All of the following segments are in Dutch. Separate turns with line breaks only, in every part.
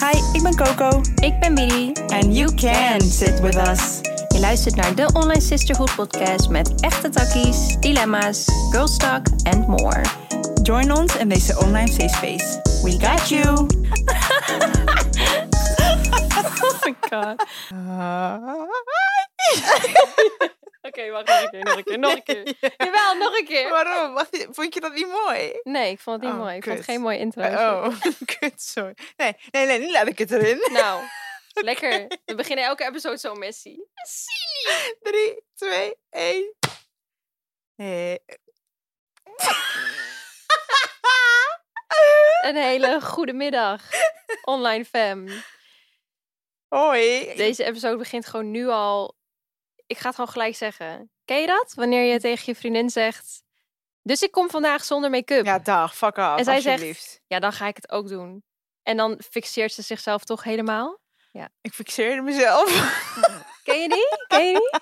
Hi, ik ben Coco.
Ik ben Bidi.
And you can sit with us.
Je luistert naar de Online Sisterhood podcast met echte takkies, dilemma's, girl talk and more.
Join ons in deze online safe space. We got you.
Oh my god.
Ah,
Oké, wacht nog een keer, nog een keer, nog een keer. Jawel, nog een keer.
Waarom? Wacht, vond je dat niet mooi?
Nee, ik vond het niet
Oh,
mooi. Ik vond
kut.
het geen mooie intro.
Oh, kut, sorry. Nee, nee, nee, nu laat ik het erin.
Nou, lekker. We beginnen elke episode zo messy.
3, 2, 1. Hey.
Een hele goede middag, online fam.
Hoi.
Deze episode begint gewoon nu al. Ik ga het gewoon gelijk zeggen. Ken je dat? Wanneer je tegen je vriendin zegt. Dus ik kom vandaag zonder make-up. Ja.
Ja, dag, fuck af,
En zij zegt-
alsjeblieft.
dan ga ik het ook doen. En dan fixeert ze zichzelf toch helemaal.
Ik fixeerde mezelf.
Ken je die? Ken je die?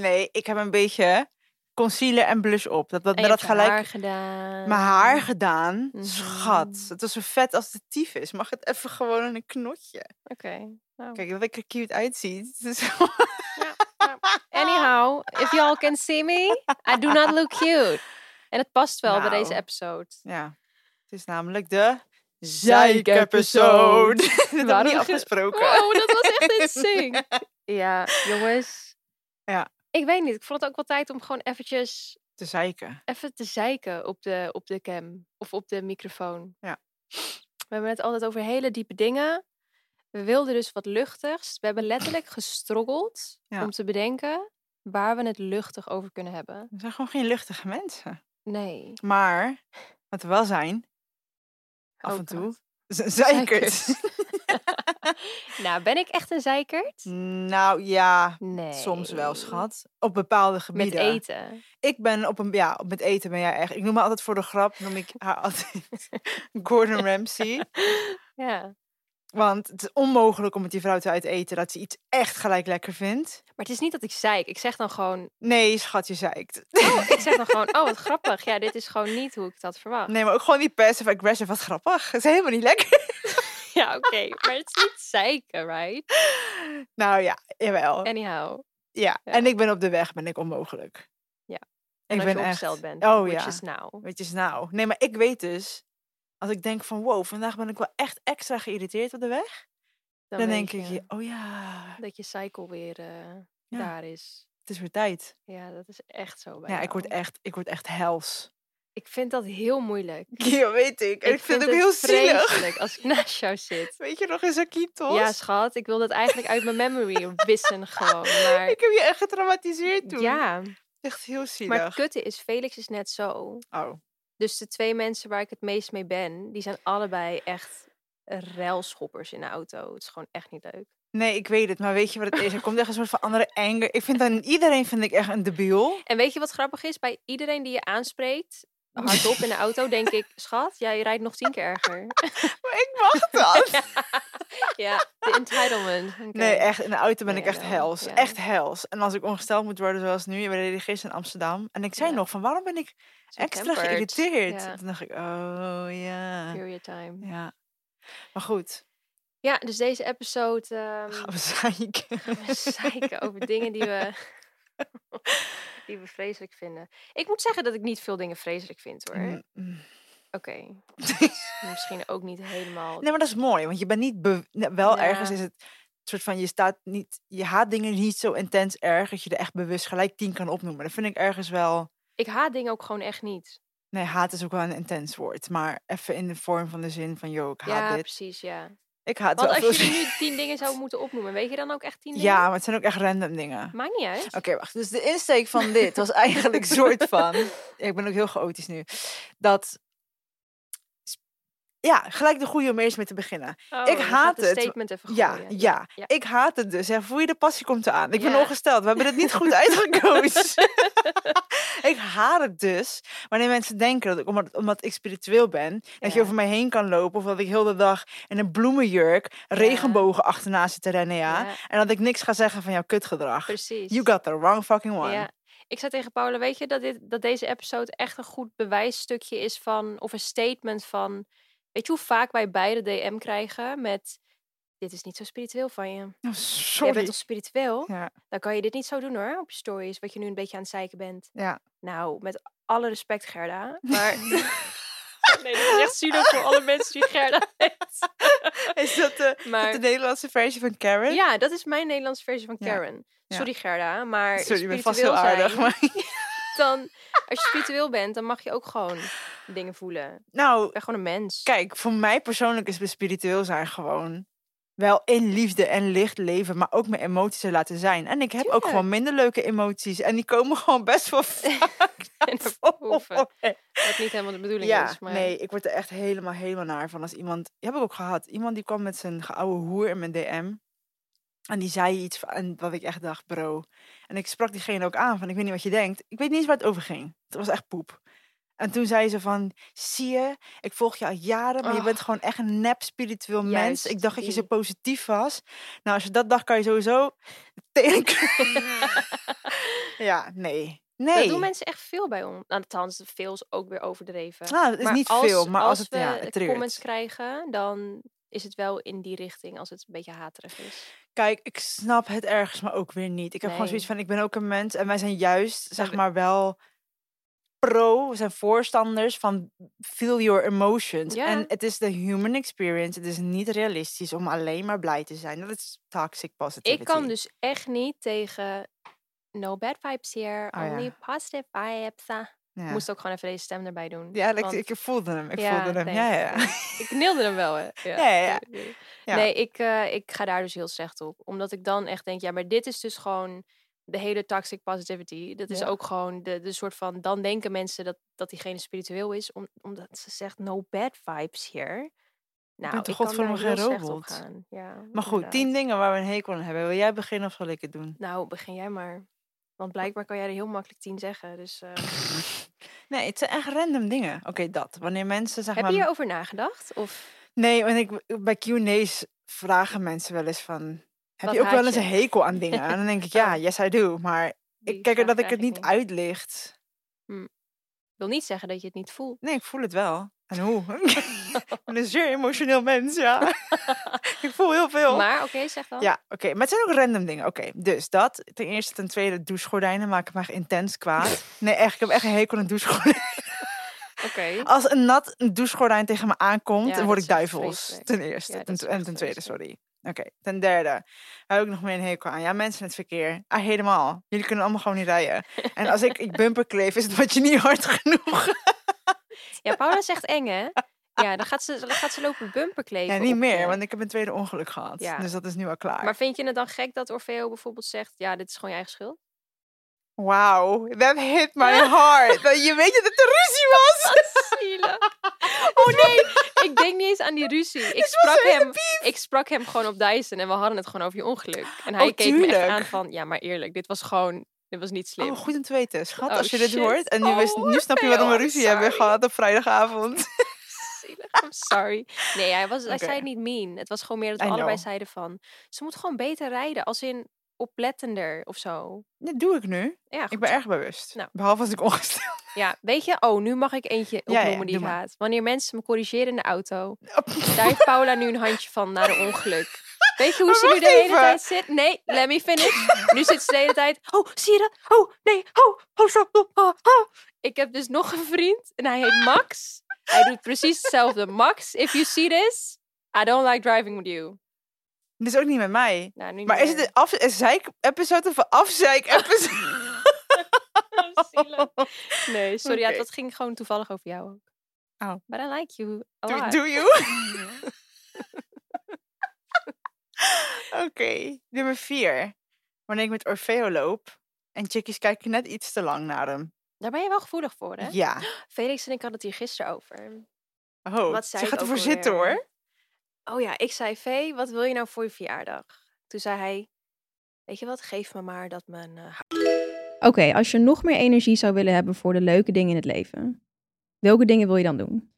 Nee, ik heb een beetje concealer en blush op. Dat, dat,
En
met
je
dat
hebt je
gelijk
haar gedaan.
mijn haar
Mm-hmm.
gedaan. Schat,
Mhm.
het was zo vet als de tief is. Mag het even gewoon in een knotje?
Oké. nou.
Kijk, dat ik er cute uitziet. Het is-
Anyhow, if y'all can see me, I do not look cute. En het past wel bij deze
Nou.
episode.
Ja, het is namelijk de zeikepisode.
Zeikepisode.
Dit hebben we
Waarom
niet
ge-
afgesproken.
Wow, Oh, dat was echt insane. ja, jongens.
Ja.
Ik weet niet. Ik vond het ook wel tijd om gewoon eventjes
De zeiken.
even te zeiken op de, op de cam. Of op de microfoon.
Ja.
We hebben het altijd over hele diepe dingen. We wilden dus wat luchtigs. We hebben letterlijk gestroggeld
Ja.
om te bedenken waar we het luchtig over kunnen hebben.
We zijn gewoon geen luchtige mensen.
Nee.
Maar, wat we wel zijn, af
Oh
en
God.
toe, z- zeikers.
Nou, ben ik echt een zeikert?
nou ja,
Nee.
soms wel, schat. Op bepaalde
Met
gebieden.
eten.
Ik ben op een... Ja, op het eten ben jij echt... Ik noem me altijd voor de grap, noem ik haar altijd Gordon Ramsay.
Ja.
Want het is onmogelijk om met die vrouw te uit eten dat ze iets echt gelijk lekker vindt.
Maar het is niet dat ik zeik. Ik zeg dan gewoon,
Nee, schat, je zeikt.
Oh, ik zeg dan gewoon, oh wat grappig. Ja, dit is gewoon niet hoe ik dat verwacht.
Nee, maar ook gewoon die passive aggressive. Wat grappig. Het is helemaal niet lekker.
Ja, oké. Maar het is niet zeiken, right?
Nou ja, jawel.
Anyhow.
ja.
ja.
en ik ben op de weg, ben ik onmogelijk.
Ja. En
Ik
als
ben echt...
je opgesteld bent.
Oh
which
ja.
is now.
Weet je, eens nou. Nee, maar ik weet dus... Als ik denk van, wow, vandaag ben ik wel echt extra geïrriteerd op de weg.
Dan,
Dan, denk
weet
ik,
je
je, oh ja,
dat je cycle weer eh,
Ja.
daar is.
het is weer tijd.
Ja, dat is echt zo bij
Ja, ik word e-
jou.
echt, ik word echt hels.
Ik vind dat heel moeilijk.
Ja, weet ik. En ik, vind het ook heel zielig.
vreselijk als ik naast jou zit.
Weet je nog eens Akitos?
Ja, schat. Ik wil dat eigenlijk uit mijn memory wissen gewoon. Maar
Ik heb je echt getraumatiseerd toen.
ja,
Echt heel zielig.
maar het kutte is, Felix is net zo.
Oh.
Dus de twee mensen waar ik het meest mee ben, die zijn allebei echt ruilschoppers in de auto. Het is gewoon echt niet leuk.
Nee, ik weet het. Maar weet je wat het is? Er komt echt een soort van andere anger. Ik vind dan iedereen vind ik echt een debiel.
En weet je wat grappig is? Bij iedereen die je aanspreekt, hardop in de auto, denk ik, schat, jij rijdt nog tien keer erger.
Maar ik mag dat.
ja, de entitlement. Oké.
Nee, e- echt. In de auto ben
Nee,
ik
ja,
echt
wel.
hels.
Ja.
Echt hels. En als ik ongesteld moet worden, zoals nu. We reden gisteren in Amsterdam. En ik zei
Ja.
nog van, waarom ben ik
Zo
extra
tempered.
geïrriteerd?
Ja,
Toen dacht ik, oh ja.
period time.
Ja. Maar goed.
Ja, dus deze episode
Gaan
ehm
we zeiken.
gaan we zeiken over dingen die we... Die we vreselijk vinden. Ik moet zeggen dat ik niet veel dingen vreselijk vind hoor.
Mm, mm.
Oké. dat is Misschien ook niet helemaal.
Nee, maar dat is mooi, want je bent niet be- nee, wel ergens
Ja.
is het soort van je staat niet, je haat dingen niet zo intens erg dat je er echt bewust gelijk tien kan opnoemen. Dat vind ik ergens wel.
Ik haat dingen ook gewoon echt niet.
Nee, haat is ook wel een intens woord, maar even in de vorm van de zin van joh, ik haat
ja,
dit.
precies, ja.
Ik haat
Want
wel
als
veel
je nu tien dingen zou moeten opnoemen, weet je dan ook echt tien dingen?
Ja, maar het zijn ook echt random dingen.
Maakt niet uit.
Oké, wacht. Dus de insteek van dit was eigenlijk soort van. Ja, ik ben ook heel chaotisch nu. Dat ja, gelijk de goede om eerst mee te beginnen.
Oh,
ik
je gaat
haat
de
het.
statement even
Ja, ja,
gooien. ja.
Ik haat het dus. Hè. Voel je de passie komt eraan. Ik ben
Ja.
ongesteld. We hebben het niet goed uitgekozen. ik haat het dus wanneer mensen denken dat ik, omdat, omdat ik spiritueel ben, dat je
Ja.
over mij heen kan lopen of dat ik heel de dag in een bloemenjurk regenbogen achterna zit te rennen, ja.
Ja,
En dat ik niks ga zeggen van jouw kutgedrag.
precies.
You got the wrong fucking one. Oh,
Ja. Ik zei tegen Paula, weet je, dat, dit, dat deze episode echt een goed bewijsstukje is van, of een statement van, weet je hoe vaak wij beide DM krijgen met, dit is niet zo spiritueel van je.
Oh,
Jij
sorry.
bent toch spiritueel?
Ja.
Dan kan je dit niet zo doen hoor, op je stories, wat je nu een beetje aan het zeiken bent.
Ja.
Nou, met alle respect Gerda, maar... nee, dat is echt zielig voor alle mensen die Gerda heet.
Is dat de,
Maar
de Nederlandse versie van Karen?
ja, dat is mijn Nederlandse versie van
Ja,
Karen.
ja.
Sorry Gerda, maar
Sorry, ik ben vast heel
spiritueel zijn,
aardig. Maar...
Dan, als je spiritueel bent, dan mag je ook gewoon dingen voelen. Ik
Nou,
ben gewoon een mens.
kijk, voor mij persoonlijk is spiritueel zijn gewoon wel in liefde en licht leven, maar ook mijn emoties te laten zijn. En ik heb ook gewoon minder leuke emoties. En die komen gewoon best wel vaak
En
naar
ook
voren.
proeven. Wat niet helemaal de bedoeling
Ja,
is. Maar...
nee, ik word er echt helemaal, helemaal naar van als iemand... Die heb ik ook gehad. Iemand die kwam met zijn geoude hoer in mijn DM. En die zei iets van, en wat ik echt dacht, bro. En ik sprak diegene ook aan van, ik weet niet wat je denkt. Ik weet niet eens waar het over ging. Het was echt poep. En toen zei ze van, zie je, ik volg je al jaren, maar je
Oh.
bent gewoon echt een nep spiritueel mens. Ik
Juist,
dacht dat je zo
die.
positief was. Nou, als je dat dacht, kan je sowieso tegen. ja, nee. Nee.
Dat doen mensen echt veel bij ons. Nou, althans, veel is ook weer overdreven.
Nou, het is niet veel, maar als, het,
we
ja, het triggert.
comments krijgen, dan is het wel in die richting als het een beetje haterig is.
Kijk, ik snap het ergens, maar ook weer niet. Ik heb gewoon
Nee.
zoiets van, ik ben ook een mens en wij zijn juist, zeg
we-
maar, wel pro, we zijn voorstanders van feel your emotions.
Ja.
En het is de human experience. Het is niet realistisch om alleen maar blij te zijn. Dat is toxic positivity.
Ik kan dus echt niet tegen no bad vibes here,
Oh, ja.
only positive vibes. ah. Ik
Ja,
moest ook gewoon even deze stem erbij doen.
ja ik-
want-
ik, voelde hem. Ik
Ja,
voelde hem.
nee,
Ja, ja. ja.
Ik neelde hem wel, hè? Ja,
Ja, ja, ja.
nee, nee.
Ja.
Nee, ik, eh, ik ga daar dus heel slecht op. Omdat ik dan echt denk, ja, maar dit is dus gewoon de hele toxic positivity. Dat is
Ja.
ook gewoon de, de soort van, dan denken mensen dat, dat diegene spiritueel is, om, omdat ze zegt no bad vibes here. Nou,
toch
ik kan daar
godverdomme geen
heel slecht op
robot?
gaan. Ja,
Maar goed,
inderdaad.
tien dingen waar we een hekel aan hebben. Wil jij beginnen of zal ik het doen?
Nou, begin jij maar. Want blijkbaar kan jij er heel makkelijk tien zeggen. Dus, eh,
Nee, het zijn echt random dingen. Oké, dat. Wanneer mensen, zeg
heb je
maar...
hierover nagedacht? Of
Nee, want ik, bij Q&A's vragen mensen wel eens van... Heb
Wat
je ook wel
haat
eens
je?
een hekel aan dingen? En dan denk ik, ja, yes I do. Maar
die
ik kijk er
vraag
dat ik het
krijg
niet
niet.
uitlicht.
wil niet zeggen dat je het niet voelt.
Nee, ik voel het wel. En hoe? ik ben een zeer emotioneel mens, ja. ik voel heel veel.
Maar oké, zeg dan.
Ja, oké. Maar het zijn ook random dingen. Oké, dus dat. Ten eerste. Ten tweede, douchegordijnen maken me echt intens kwaad. Nee, echt. Ik heb echt een hekel aan douchegordijnen.
Oké.
Als een nat douchegordijn tegen me aankomt,
Ja,
dan word
dat
ik
is echt
duivels.
vreselijk.
Ten eerste.
Ja, dat
ten,
is
tw- en
echt
ten tweede,
vreselijk.
sorry. Oké, ten derde. Daar heb ik nog meer een hekel aan. Ja, mensen in het verkeer. Ah, helemaal. Jullie kunnen allemaal gewoon niet rijden. En als ik, ik bumper kleef, is het wat je niet hard genoeg.
Ja, Paula is echt eng, hè? Ja, dan gaat ze, dan gaat ze lopen bumperkleven.
Ja, niet
op
meer,
je.
want ik heb een tweede ongeluk gehad.
Ja.
Dus dat is nu al klaar.
Maar vind je het dan gek dat Orfeo bijvoorbeeld zegt... Ja, dit is gewoon je eigen schuld?
Wow, that hit my heart. Dat- je weet dat het een ruzie was.
Zielig. Oh nee, ik denk niet eens aan die ruzie. Ik sprak, hem, ik sprak hem gewoon op Dyson en we hadden het gewoon over je ongeluk. En hij
Oh,
keek me echt
tuurlijk.
aan van... Ja, maar eerlijk, dit was gewoon... Dit was niet slim.
Oh, goed om te weten, schat.
Oh,
als je dit
shit.
hoort. En nu, wist-
Oh,
nu snap je waarom we
Orfeo,
ruzie
I'm
hebben
sorry.
gehad op vrijdagavond.
Zielig, I'm sorry. Nee, hij, was, hij
Oké.
zei het niet mean. Het was gewoon meer dat we
I
allebei
know.
zeiden van... Ze moet gewoon beter rijden, als in oplettender of zo.
Dat doe ik nu.
Ja,
Ik
goed
ben erg bewust.
Nou.
Behalve als ik ongesteld
Ja, weet je, oh, nu mag ik eentje
Ja, ja,
opnoemen die
doe maar.
gaat. Wanneer mensen me corrigeren in de auto, daar heeft Paula nu een handje van na de ongeluk. Weet je hoe
Maar
ze nu de
wacht
hele
even.
tijd zit? Nee, let me finish. Nu zit ze de hele tijd. Oh, zie je dat? Oh, nee. Oh, oh, stop. Oh, oh, oh. Ik heb dus nog een vriend en hij heet Max. Hij doet precies hetzelfde. Max, if you see this, I don't like driving with you.
Dit is ook niet met mij.
Nou, nu
Maar is het een, af, een zeik-episode of een afzeik-episode?
zielig. Nee, sorry, ja,
Oké.
dat ging gewoon toevallig over jou ook.
Oh.
But I like you a
do,
lot.
do you? Oké. Nummer vier. Wanneer ik met Orfeo loop en chickies kijken net iets te lang naar hem.
Daar ben je wel gevoelig voor, hè?
Ja.
Felix en ik hadden het hier gisteren over.
Oh,
Wat
ze
zei ik
gaat
ook
ervoor zitten
alweer?
hoor.
Oh ja, ik zei, Vee, wat wil je nou voor je verjaardag? Toen zei hij, weet je wat, geef me maar dat mijn... eh, ha-
Oké, als je nog meer energie zou willen hebben voor de leuke dingen in het leven, welke dingen wil je dan doen?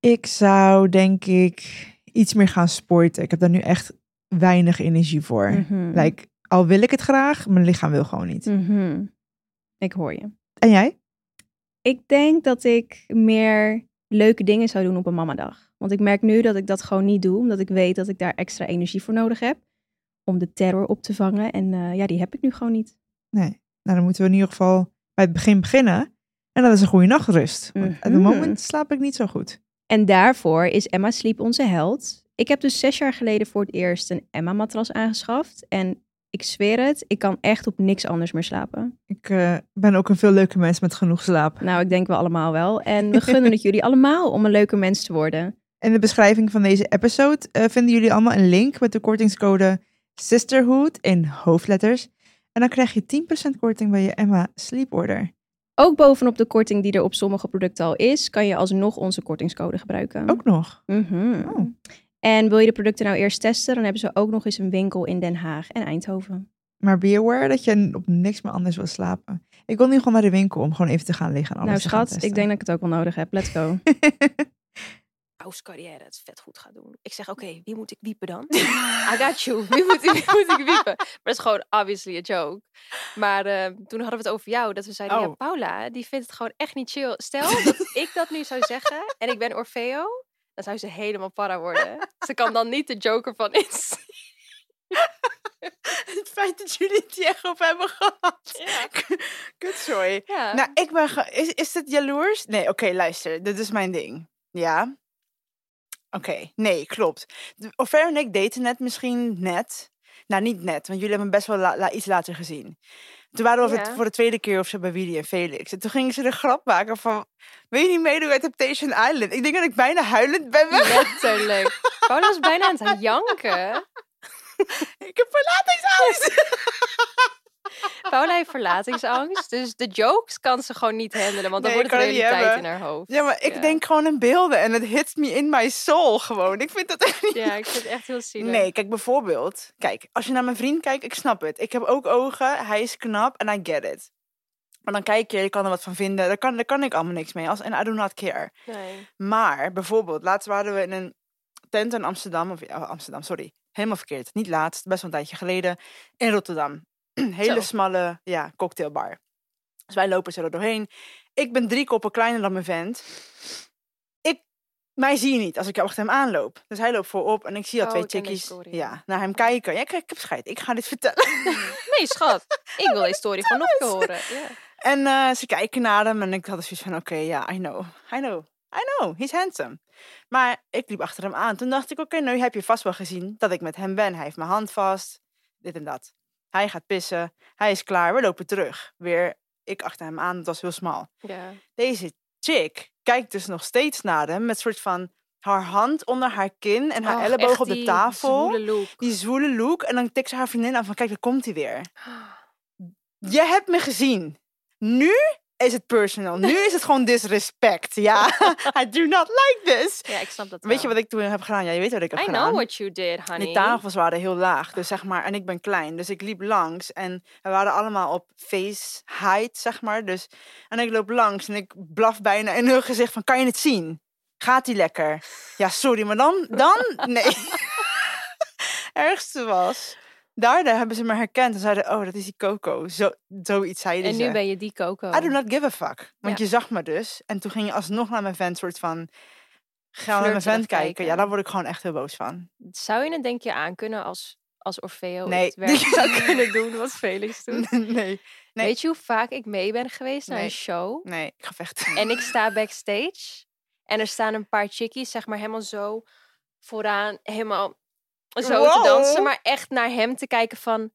Ik zou denk ik iets meer gaan sporten. Ik heb daar nu echt weinig energie voor.
Mhm.
Like, al wil ik het graag, mijn lichaam wil gewoon niet.
Mm.
Mhm. Ik hoor je.
En jij?
Ik denk dat ik meer leuke dingen zou doen op een mamadag. Want ik merk nu dat ik dat gewoon niet doe, omdat ik weet dat ik daar extra energie voor nodig heb. Om de terror op te vangen. En eh, ja, die heb ik nu gewoon niet.
Nee. Nou, dan moeten we in ieder geval bij het begin beginnen. En dat is een goede nachtrust. Want Op
Mhm.
het moment slaap ik niet zo goed.
En daarvoor is Emma Sleep onze held. Ik heb dus zes jaar geleden voor het eerst een Emma-matras aangeschaft. En ik zweer het, ik kan echt op niks anders meer slapen.
Ik eh, ben ook een veel leuke mens met genoeg slaap.
Nou, ik denk wel allemaal wel. En we gunnen het jullie allemaal om een leuke mens te worden.
In de beschrijving van deze episode eh, vinden jullie allemaal een link met de kortingscode Sisterhood in hoofdletters. En dan krijg je 10% korting bij je Emma Sleep Order.
Ook bovenop de korting die er op sommige producten al is, kan je alsnog onze kortingscode gebruiken.
Ook nog.
Mhm.
Oh.
En wil je de producten nou eerst testen, dan hebben ze ook nog eens een winkel in Den Haag en
Oh,
Eindhoven.
Maar be aware dat je op niks meer anders wil slapen. Ik wil nu gewoon naar de winkel om gewoon even te gaan liggen en alles
nou
te gaan
schat, ik denk dat ik het ook wel nodig heb. Let's go.
testen.
pauscarrière het vet goed gaat doen. Ik zeg, oké, wie moet ik wiepen dan? I got you. Wie moet, wie moet ik wiepen? Maar dat is gewoon obviously a joke. Maar eh, toen hadden we het over jou. Dat we zeiden, ja,
Oh.
Paula, die vindt het gewoon echt niet chill. Stel dat ik dat nu zou zeggen en ik ben Orfeo. Dan zou ze helemaal para worden. Ze kan dan niet de joker van is.
Het feit dat jullie het hier echt op hebben gehad.
Ja.
Kutzooi.
Ja.
Nou, ik ben. ge- Is, is dit jaloers? Nee, oké, luister. Dit is mijn ding. Ja? Oké, nee, klopt. De- Ofer en ik daten net misschien net. Nou, niet net, want jullie hebben hem best wel la- la- iets later gezien. Toen waren we voor het-
Ja.
voor de tweede keer of zo bij Willy en Felix. En toen gingen ze de grap maken van... Wil je niet meedoen bij Temptation Island? Ik denk dat ik bijna huilend ben weg.
Letterlijk. Paula was bijna aan het janken.
Ik heb verlatingsangst.
Paula heeft verlatingsangst. Dus de jokes kan ze gewoon niet handelen. Want
Nee,
dan wordt het
kan het niet
realiteit in
hebben.
haar hoofd.
Ja, maar ik
Ja.
denk gewoon in beelden. En het hits me in my soul gewoon. Ik vind dat echt niet
Ja, ik vind het echt heel zielig.
Nee, kijk bijvoorbeeld. Kijk, als je naar mijn vriend kijkt, ik snap het. Ik heb ook ogen, hij is knap en I get it. Maar dan kijk je, je kan er wat van vinden. Daar kan, daar kan ik allemaal niks mee. Als, en I do not care.
Nee.
Maar bijvoorbeeld, laatst waren we in een tent in Amsterdam. Of ja, Amsterdam, sorry. Helemaal verkeerd. Niet laatst, best wel een tijdje geleden. In Rotterdam. Hele
Zo.
smalle ja, cocktailbar. Dus wij lopen zo er doorheen. Ik ben drie koppen kleiner dan mijn vent. Ik, mij zie je niet als ik achter hem aanloop. Dus hij loopt voorop en ik zie al
Oh,
twee
ik ken deze
chickies
story.
ja, naar hem kijken. Ja, ik, ik heb scheid. Ik ga dit vertellen.
Nee, schat. Ik wil deze story gewoon nog een keer horen. Ja.
En eh, ze kijken naar hem en ik had zoiets van, oké, ja, I know, I know, I know, he's handsome. Maar ik liep achter hem aan. Toen dacht ik, oké, nu heb je vast wel gezien dat ik met hem ben. Hij heeft mijn hand vast, dit en dat. Hij gaat pissen, hij is klaar, we lopen terug. Weer, ik achter hem aan, het was heel smal.
ja.
Deze chick kijkt dus nog steeds naar hem met soort van haar hand onder haar kin en haar
Och,
elleboog
echt
op de
die
tafel.
zwoele look.
Die zwoele look. En dan tikt ze haar vriendin aan van, kijk, daar komt hij weer. Je hebt me gezien. Nu is het personal. Nu is het gewoon disrespect. Ja, I do not like this.
Ja, ik snap dat
Weet je
wel.
wat ik toen heb gedaan? Ja, je weet wat ik heb
I
gedaan.
know what you did, honey.
De tafels waren heel laag, dus zeg maar, en ik ben klein, dus ik liep langs en we waren allemaal op face height, zeg maar, dus en ik loop langs en ik blaf bijna in hun gezicht van, kan je het zien? Gaat die lekker? Ja, sorry, maar dan, dan, nee. Ergste was, daardoor hebben ze me herkend en zeiden, oh, dat is die Coco, zo, zoiets zeiden
En
ze.
nu ben je die Coco.
I do not give a fuck. Want
Ja.
je zag me dus. En toen ging je alsnog naar mijn vent soort van... Ga naar mijn
Flirterig
vent kijken.
kijken.
Ja, daar word ik gewoon echt heel boos van.
Zou je het denk je aankunnen als, als Orfeo
Nee.
het werk zou kunnen doen wat Felix doet?
nee. Nee.
Weet je hoe vaak ik mee ben geweest naar
Nee.
een show?
Nee, ik ga vechten.
En ik sta backstage. En er staan een paar chickies, zeg maar, helemaal zo vooraan. Helemaal zo te
Wow.
dansen. Maar echt naar hem te kijken van...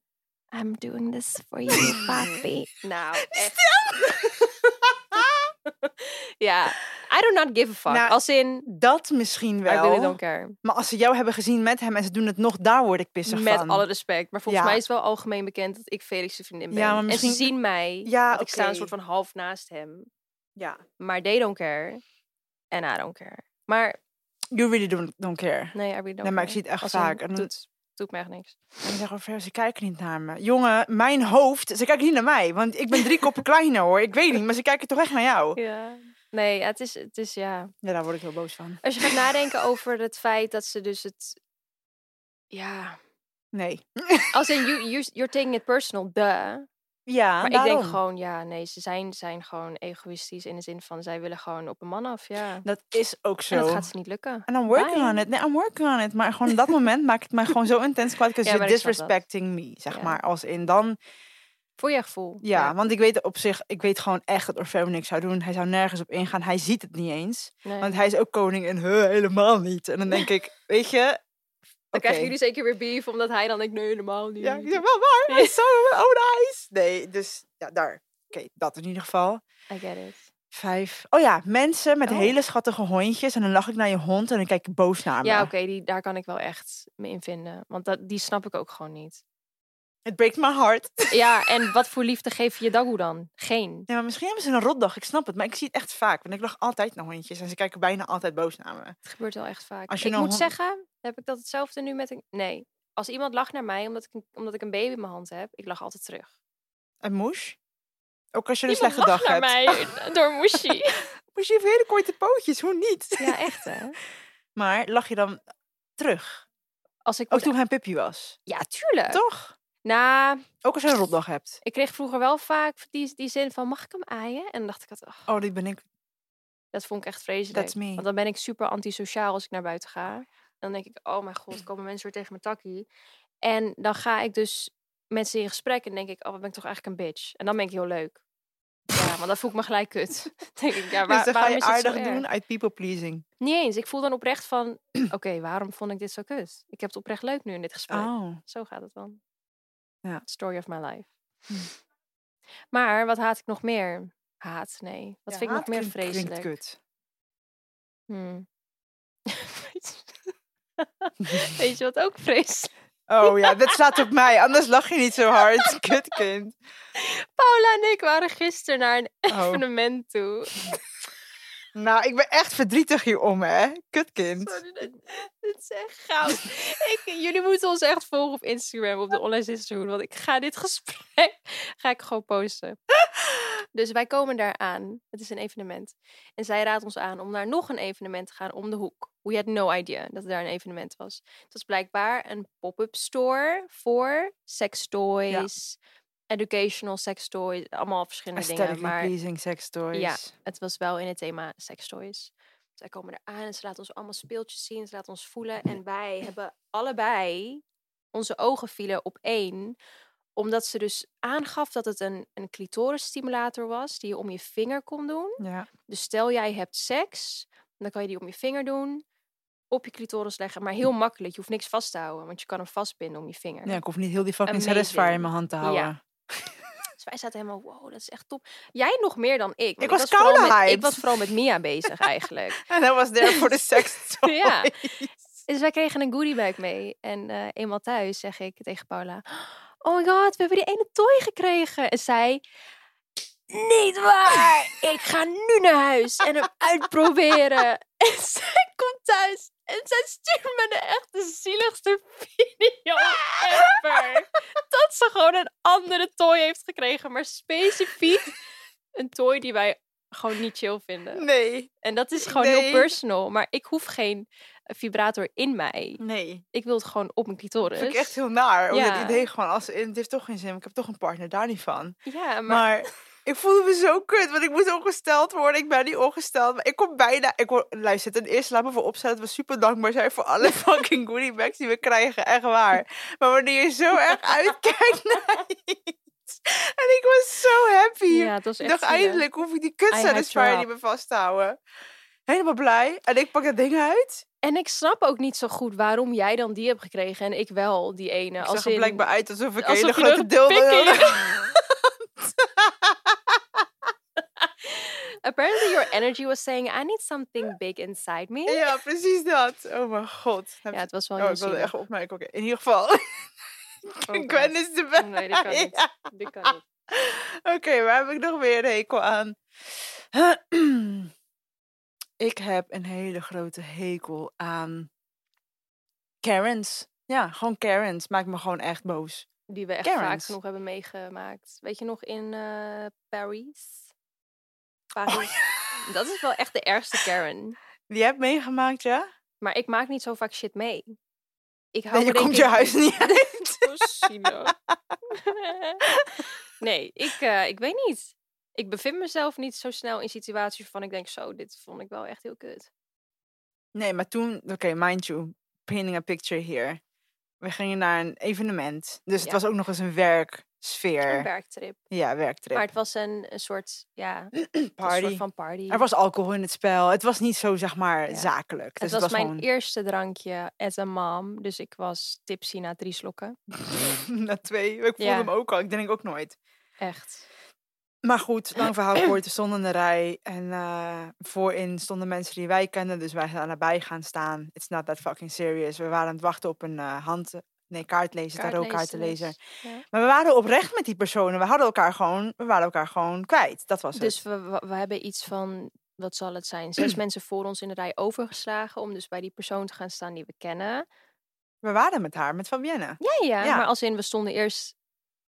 I'm doing this for you, papi. nou, echt. ja, I do not give a fuck.
Nou,
Als in,
Dat misschien
I really
wel.
don't care.
Maar als ze jou hebben gezien met hem en ze doen het nog, daar word ik pissig
Met
van.
alle respect. Maar volgens
Ja.
mij is wel algemeen bekend dat ik Felix' vriendin ben.
Ja, maar
En
misschien-
ze zien mij.
Ja,
want ik sta een
oké.
soort van half naast hem.
Ja.
Maar they don't care. En I don't care. Maar
You really don't, don't care.
Nee, I really don't
Nee, maar ik
care.
zie het echt
Als in,
vaak. En, dan-
Doet, doet me echt niks.
en ik zeg over, ze kijken niet naar me. Jongen, mijn hoofd, ze kijken niet naar mij. Want ik ben drie koppen kleiner hoor. Ik weet niet, maar ze kijken toch echt naar jou.
Ja. Nee, ja, het is, het is ja.
Ja, daar word ik heel boos van.
Als je gaat nadenken over het feit dat ze dus het. Ja.
Nee.
Als in, you, you, you're taking it personal, duh.
Ja,
Maar ik
daarom.
denk gewoon, ja, nee, ze zijn, zijn gewoon egoïstisch in de zin van zij willen gewoon op een man af, ja.
Dat is ook zo.
En dat gaat ze niet lukken.
En I'm working
Bye.
on it. Nee, I'm working on it. Maar gewoon dat moment maakt het mij gewoon zo intens kwaad. Because
Ja,
you're
maar ik snap dat.
disrespecting me, zeg
Ja.
maar. Als in dan...
Voor je gevoel.
Ja, want ik weet op zich... Ik weet gewoon echt dat Orfeo niks zou doen. Hij zou nergens op ingaan. Hij ziet het niet eens.
Nee.
Want hij is ook koning en huh, helemaal niet. En dan denk ik, weet je...
Dan krijgen
oké.
jullie zeker weer beef, omdat hij dan denkt, nee, helemaal niet.
Ja, ik zeg, wel waar?
Ja.
Dat is zo oh nice. Nee, dus ja, daar. Oké, dat in ieder geval.
I get it.
Vijf. Oh ja, mensen met
Oh.
hele schattige hondjes. En dan lach ik naar je hond en dan kijk ik boos naar me.
Ja, oké, die daar kan ik wel echt me in vinden. Want dat, die snap ik ook gewoon niet.
Het breekt mijn hart.
Ja, en wat voor liefde geef je Dagoe dan? Geen.
Nee, maar misschien hebben ze een rotdag. Ik snap het. Maar ik zie het echt vaak. Want ik lach altijd naar hondjes. En ze kijken bijna altijd boos naar me.
Het gebeurt wel echt vaak.
Als je
ik
nou
moet
hon-
zeggen, heb ik dat hetzelfde nu met een... Nee, als iemand lacht naar mij omdat ik, een- omdat ik een baby in mijn hand heb, ik lach altijd terug.
En Moes? Ook als je een
Iemand
slechte dag
lacht
hebt.
naar mij door Mushi.
Moes, je heeft hele korte pootjes. Hoe niet?
ja, echt hè?
Maar lach je dan terug?
Als ik
Ook
moet-
Oh, toen hij een Pippi was.
Ja, tuurlijk.
Toch?
Nou,
Ook als je een rotdag hebt.
ik kreeg vroeger wel vaak die, die zin van mag ik hem aaien? En dan dacht ik altijd, oh,
Oh, die ben ik.
dat vond ik echt vreselijk.
That's me.
Want dan ben ik super antisociaal als ik naar buiten ga. Dan denk ik, oh mijn god, komen mensen weer tegen mijn takkie. En dan ga ik dus met ze in gesprek en denk ik, oh, wat ben ik toch eigenlijk een bitch. En dan ben ik heel leuk. Ja, want dan voel ik me gelijk kut. denk ik, ja,
dus
waar,
dan ga
waarom
je
is het zo
aardig
erg?
doen uit people pleasing.
Niet eens. Ik voel dan oprecht van, oké, waarom vond ik dit zo kut? Ik heb het oprecht leuk nu in dit gesprek.
Oh.
Zo gaat het dan.
Ja.
Story of my life.
Hm.
Maar wat haat ik nog meer? Haat, nee. Wat
Ja,
vind ik nog
haat
meer
Ah, klinkt- klinkt
vreselijk?
kut.
Hmm. Weet je wat ook vreselijk?
Oh ja, dat staat op mij. Anders lach je niet zo hard. Kutkind.
Paula en ik waren gisteren naar een
Oh.
evenement toe.
Nou, ik ben echt verdrietig hierom, hè. Kutkind.
Sorry, dit, dit is echt goud. ik, jullie moeten ons echt volgen op Instagram, op de Online Sisterhood. Want ik ga dit gesprek ga ik gewoon posten. Dus wij komen daar aan. Het is een evenement. En zij raadt ons aan om naar nog een evenement te gaan om de hoek. We had no idea dat er daar een evenement was. Het was blijkbaar een pop-up store voor sextoys, educational sextoys, allemaal verschillende dingen.
Aesthetically
Maar
pleasing sex stories.
Ja. het was wel in het thema sextoys. Zij komen eraan en ze laten ons allemaal speeltjes zien. Ze laten ons voelen. En wij hebben allebei... Onze ogen vielen op één. Omdat ze dus aangaf dat het een, een clitorisstimulator was... die je om je vinger kon doen.
Ja.
Dus stel jij hebt seks... dan kan je die om je vinger doen... op je clitoris leggen. Maar heel makkelijk. Je hoeft niks vast te houden. Want je kan hem vastbinden om je vinger.
Ja, ik hoef niet heel die fucking
Amazing.
satisfier in mijn hand te
Ja.
houden.
Dus wij zaten helemaal, wow, dat is echt top. Jij nog meer dan ik. want
was
vooral
koude
met- Ik
hyped.
was vooral met Mia bezig eigenlijk.
En dat was there for the sex toy.
Ja. Dus wij kregen een goodiebag mee. En eh, eenmaal thuis zeg ik tegen Paula... Oh my god, we hebben die ene toy gekregen. En zij... Niet waar! Ik ga nu naar huis en hem uitproberen. En zij komt thuis en zij stuurt me de echt de zieligste video ever. Dat ze gewoon een andere toy heeft gekregen, maar specifiek een toy die wij gewoon niet chill vinden.
Nee.
En dat is gewoon
Nee.
heel personal. Maar ik hoef geen vibrator in mij.
Nee.
Ik wil het gewoon op mijn clitoris.
Dat vind ik echt heel naar. Ja.
Ja.
Het idee gewoon, als, het heeft toch geen zin. Ik heb toch een partner, daar niet van.
Ja, maar,
Maar ik voelde me zo kut, want ik moest ongesteld worden. Ik ben niet ongesteld. Maar ik kom bijna... Ik word, luister, ten eerste, laat me voor opstellen dat we super dankbaar zijn voor alle fucking goodie bags die we krijgen. Echt waar. Maar wanneer je zo erg uitkijkt naar iets... En ik was zo happy.
ja, het was
Ik
echt
dacht,
zielig.
eindelijk hoef ik die kut
I had your
satisfier niet
up.
meer vast te houden. Helemaal blij. En ik pak dat ding uit.
En ik snap ook niet zo goed waarom jij dan die hebt gekregen en ik wel die ene.
Ik
als
zag er
in-
blijkbaar uit alsof ik een
alsof
hele
je
grote
een
deel
pik in
had.
Apparently your energy was saying, I need something big inside me.
Ja, precies dat. Oh mijn god. Heb-
Ja, het was wel
oh,
heel
ik wilde
zielig.
echt opmerken. Oké, in ieder geval. dus
Oh
Gwen
God.
is de beste.
Nee, dit kan niet.
Ja.
Dit
Ah.
kan niet.
Oké, waar heb ik nog weer een hekel aan? ik heb een hele grote hekel aan Karens. Ja, gewoon Karens. Maakt me gewoon echt boos.
Die we echt vaak
Karens.
genoeg hebben meegemaakt. Weet je nog in eh Paris? Paris. Ah, Dat is wel echt de ergste Karen.
Oh Die heb meegemaakt, ja?
Maar ik maak niet zo vaak shit mee. Ik hou
Nee, je
me denk
komt je
ik-
huis niet uit.
Zo zielig. Nee, ik, eh, ik weet niet. Ik bevind mezelf niet zo snel in situaties waarvan ik denk, zo, dit vond ik wel echt heel kut.
Nee, maar toen, oké, mind you, painting a picture here. We gingen naar een evenement. Dus
Ja.
het was ook nog eens een
Een
werksfeer.
werktrip.
ja, werktrip.
Maar het was een, een soort, ja, het was een
party.
soort van party.
Er was alcohol in het spel. Het was niet zo, zeg maar,
Ja.
zakelijk.
het
Dus
was, mijn
gewoon
eerste drankje as a mom. Dus ik was tipsy na drie slokken.
na twee. Ik voelde
Ja.
hem ook al. Ik denk ook nooit.
Echt.
Maar goed, lang verhaal kort. We stonden in de rij. En eh, voorin stonden mensen die wij kenden. Dus wij zijn erbij gaan staan. It's not that fucking serious. We waren aan het wachten op een eh, hand... Nee, kaartlezer, tarotkaartenlezer.
Kaartlezeres. Ja.
Maar we waren oprecht met die personen. We hadden elkaar gewoon, we waren elkaar gewoon kwijt. Dat was
Dus we, we, we hebben iets van, wat zal het zijn? Zes mensen voor ons in de rij overgeslagen om dus bij die persoon te gaan staan die we kennen.
het. We waren met haar, met Fabienne.
Ja, ja.
Ja.
Maar als in, we stonden eerst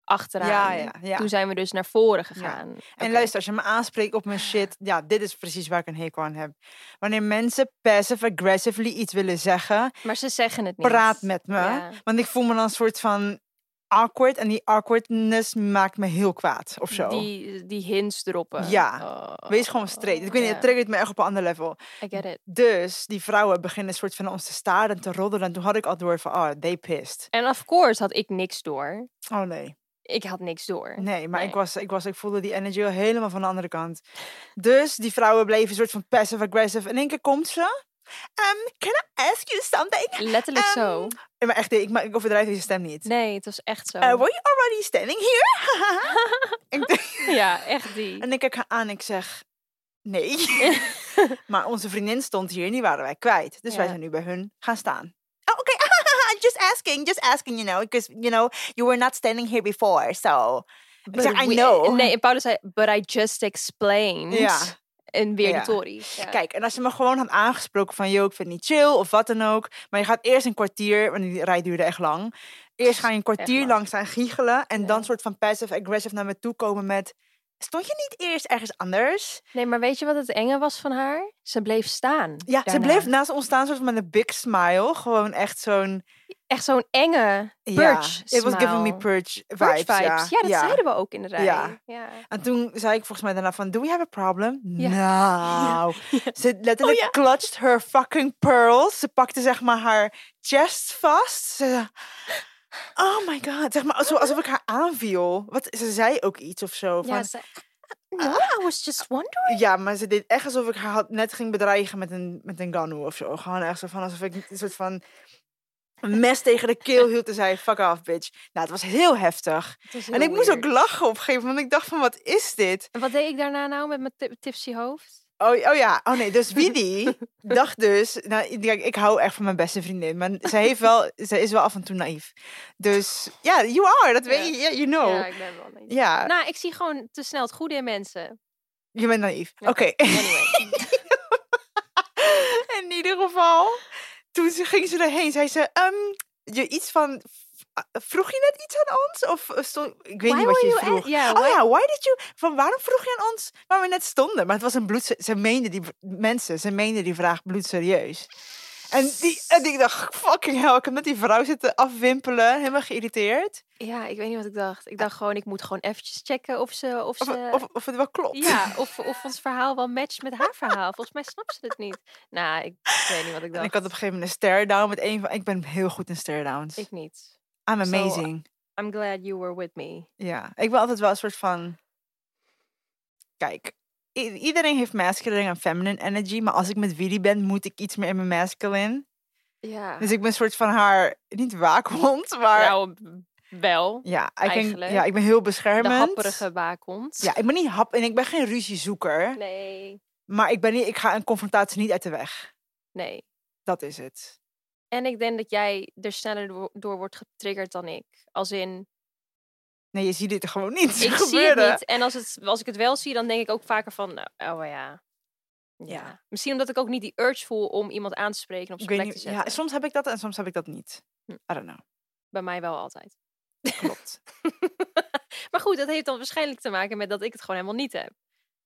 achteraan.
Ja, ja, ja.
Toen zijn we dus naar voren gegaan.
En
Oké.
luister, als je me aanspreekt op mijn shit, ja, dit is precies waar ik een hekel aan heb. Wanneer mensen passive-aggressively iets willen zeggen,
Maar ze zeggen het niet.
praat met me.
Ja.
Want ik voel me dan een soort van awkward en die awkwardness maakt me heel kwaad of zo.
Die, die hints droppen.
Ja.
Oh,
Wees gewoon straight. Ik weet niet,
ja.
het triggert me echt op een ander level.
I get it.
Dus die vrouwen beginnen soort van ons te staren en te roddelen. En toen had ik al door van, oh, they pissed.
En of course had ik niks door.
Oh nee.
Ik had niks door.
Nee, maar Ik,
Nee.
was, ik, was, ik voelde die energy al helemaal van de andere kant. Dus die vrouwen bleven een soort van passive-aggressive. In één keer komt ze. Ehm, can I ask you something?
Letterlijk
Ehm,
zo.
Eh, Maar echt, ik, ma- ik overdrijf deze stem niet.
Nee, het was echt zo.
Eh, were you already standing here? ik, denk-
ja, echt die.
en ik kijk haar aan en ik zeg... Nee. maar onze vriendin stond hier en die waren wij kwijt. Dus wij
Ja.
zijn nu bij hun gaan staan. Oh, oké. just asking, just asking, you know. Because, you know, you were not standing here before, so... Ik zeg, I
We- eh,
know.
Nee, en Paulus zei, but I just explained.
Ja.
En weer
Ja.
die tories. Ja.
Kijk, en als je me gewoon had aangesproken van... yo, ik vind het niet chill of wat dan ook... maar je gaat eerst een kwartier, want die rij duurde echt lang... eerst ga je een kwartier
lang.
lang staan giechelen... en
Ja.
dan soort van passive-aggressive naar me toe komen met... stond je niet eerst ergens anders?
Nee, maar weet je wat het enge was van haar? Ze bleef staan.
Ja, ze
daarna.
bleef naast ons staan soort van met een big smile. Gewoon echt zo'n...
Echt zo'n enge
ja,
purge
It was giving me
smile.
purge vibes.
purge vibes. Ja,
ja.
dat zeiden we ook in de rij.
Ja.
Ja.
En toen zei ik volgens mij daarna van... Do we have a problem?
Ja.
Nou... Ze letterlijk
ja.
clutched her fucking pearls. Ze pakte zeg maar haar chest vast. Ze, oh my god. Zeg maar alsof, alsof ik haar aanviel. Wat, ze zei ook iets of zo. Van, "Ah,
Ja,
ja,
ze- No, I was just wondering.
maar ze deed echt alsof ik haar had, net ging bedreigen met een, met een ganu of zo. Gewoon echt zo van alsof ik een soort van een mes tegen de keel hield en zei fuck off bitch. Nou, het was heel heftig. en ik moest ook lachen op een gegeven moment. Ik dacht van wat is dit?
En wat deed ik daarna nou met mijn ti- tipsy hoofd?
Oh, oh ja, oh nee, dus Widi dacht dus, nou, kijk, ik hou echt van mijn beste vriendin, maar ze heeft wel, ze is wel af en toe naïef. Dus ja, you are, dat weet je, yeah, you know. Oh.
Ja,
Ja,
ik ben wel niet. Nou, ik zie gewoon te snel het goede in mensen.
je bent naïef.
Ja.
Oké.
Anyway.
In ieder geval, toen ze, ging ze erheen, zei ze, ehm, je iets van, vroeg je net iets aan ons? Of eh, stond, ik weet
Why
niet wat
were
je
you
vroeg.
at- Ja,
Oh
why-
ja, why did you? Van waarom vroeg je aan ons waar we net stonden? Maar het was een bloed. Ze, ze meende die mensen, ze meende die vraag bloedserieus. En, die, en ik dacht, fucking hell, ik heb met die vrouw zitten afwimpelen, helemaal geïrriteerd.
ja, ik weet niet wat ik dacht. Ik dacht gewoon, ik moet gewoon eventjes checken of ze... Of
Of,
ze
of, of het wel klopt.
Dus, eh, Ja, of, of ons verhaal wel matcht met haar verhaal. Volgens mij snapt ze het niet. Nou, ik, ik weet niet wat ik
En
dacht.
ik had op een gegeven moment een stare-down met een van... Ik ben heel goed in stare-downs.
Ik niet.
I'm
zo-
amazing.
I'm glad you were with me.
Ja, ik ben altijd wel een soort van... Kijk, i- iedereen heeft masculine en feminine energy. Maar als ik met Willy ben, moet ik iets meer in mijn masculine.
Ja.
Dus ik ben een soort van haar, niet waakhond, maar...
Nou, wel.
Ja, I can,
Eigenlijk.
ja, ik ben heel
De
beschermend.
happerige waakhond.
Ja, ik ben niet hap en ik ben geen ruziezoeker.
Nee.
Maar ik, ben niet, ik ga een confrontatie niet uit de weg.
Nee.
Dat is het.
En ik denk dat jij er sneller door- door wordt getriggerd dan ik. Als in,
Nee, je ziet dit gewoon niet
ik
gebeuren.
zie het niet. En als, het, als ik het wel zie, dan denk ik ook vaker van, nou, oh ja. ja.
Ja.
Misschien omdat ik ook niet die urge voel om iemand aan te spreken op
Ik
zijn
weet
plek te
niet,
zetten.
ja, soms heb ik dat en soms heb ik dat niet.
Hm.
I don't know.
Bij mij wel altijd.
Klopt.
Maar goed, dat heeft dan waarschijnlijk te maken met dat ik het gewoon helemaal niet heb.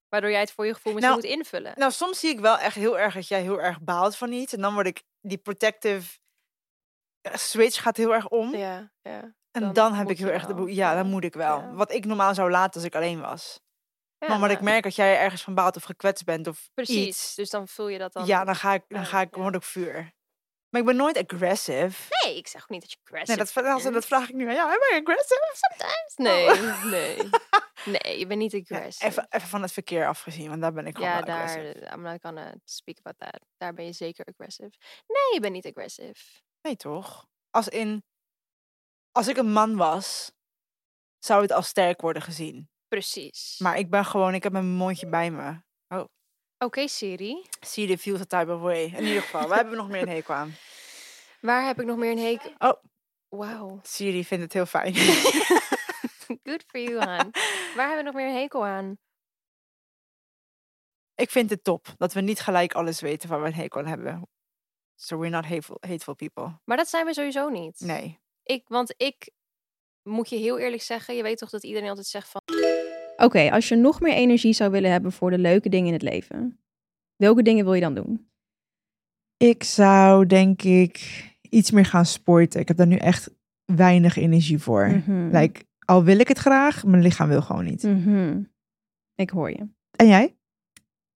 Waardoor jij het voor je gevoel misschien
Nou,
moet invullen.
nou, soms zie ik wel echt heel erg dat jij heel erg baalt van iets. En dan word ik, die protective eh, switch gaat heel erg om.
Ja, ja.
En
dan
dan, heb
moet
ik heel
je
erg de
wel.
behoefte. Ja, dan moet ik wel.
Ja.
Wat ik normaal zou laten als ik alleen was.
Ja,
maar omdat ik
nou,
merk dat jij ergens van baat of gekwetst bent of
Precies,
iets.
dus dan voel je dat dan.
ja, dan ga ik, dan
Ja,
ga ik,
ja.
word ik vuur. Maar ik ben nooit aggressive.
Nee, ik zeg ook niet dat je
Nee,
aggressive
dat, vra-
bent.
dat vraag ik nu aan jou. Ben je aggressive?
Nee, nee. Nee, je bent niet
Ja,
aggressive.
Oh. even, even van het verkeer afgezien, want daar ben ik gewoon
Ja,
wel aggressive.
daar, I'm not gonna speak about that. Daar ben je zeker aggressive. Nee, je bent niet aggressive.
Nee, toch? Als in, als ik een man was, zou het als sterk worden gezien.
Precies.
Maar ik ben gewoon, ik heb mijn mondje bij me.
Oké, Siri.
See the feels a type of way. In ieder geval, waar hebben we nog meer een hekel aan?
Waar heb ik nog meer een hekel?
Oh.
Wauw.
Siri vindt het heel fijn.
Good for you, Han. Waar hebben we nog meer een hekel aan?
ik vind het top dat we niet gelijk alles weten waar we een hekel aan hebben. So we're not hateful, hateful people.
Maar dat zijn we sowieso niet.
Nee.
Ik, want ik moet je heel eerlijk zeggen, je weet toch dat iedereen altijd zegt van
Oké, als je nog meer energie zou willen hebben voor de leuke dingen in het leven, welke dingen wil je dan doen?
Ik zou denk ik iets meer gaan sporten. Ik heb daar nu echt weinig energie voor.
Mm-hmm.
Mhm.
Like, al wil ik het graag, mijn lichaam wil gewoon
Mm.
niet.
Mhm. Ik hoor je.
En jij?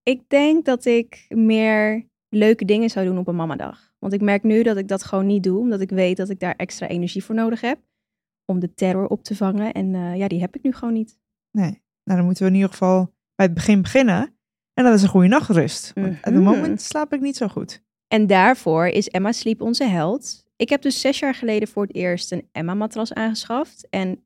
Ik denk dat ik meer leuke dingen zou doen op een mamadag. Want ik merk nu dat ik dat gewoon niet doe, omdat ik weet dat ik daar extra energie voor nodig heb om de terror op te vangen. En eh, ja, die heb ik nu gewoon niet.
Nee. Nou, dan moeten we in ieder geval bij het begin beginnen. En dat is een goede nachtrust. Want At the
Mhm.
Mm-hmm.
moment slaap ik niet zo goed.
En daarvoor is Emma Sleep onze held. Ik heb dus zes jaar geleden voor het eerst een Emma-matras aangeschaft. En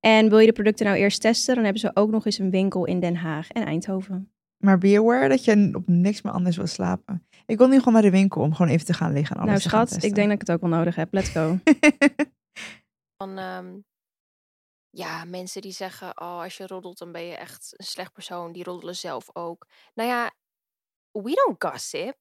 En wil je de producten nou eerst testen, dan hebben ze ook nog eens een winkel in Den Haag en
Oh,
Eindhoven.
Maar be aware dat je op niks meer anders wil slapen. Ik wil nu gewoon naar de winkel om gewoon even te gaan liggen en alles
nou
te gaan
schat, ik denk dat ik het ook wel nodig heb. Let's go.
testen.
van ehm, ja, mensen die zeggen: Oh, als je roddelt, dan ben je echt een slecht persoon. Die roddelen zelf ook. Nou ja, we don't gossip.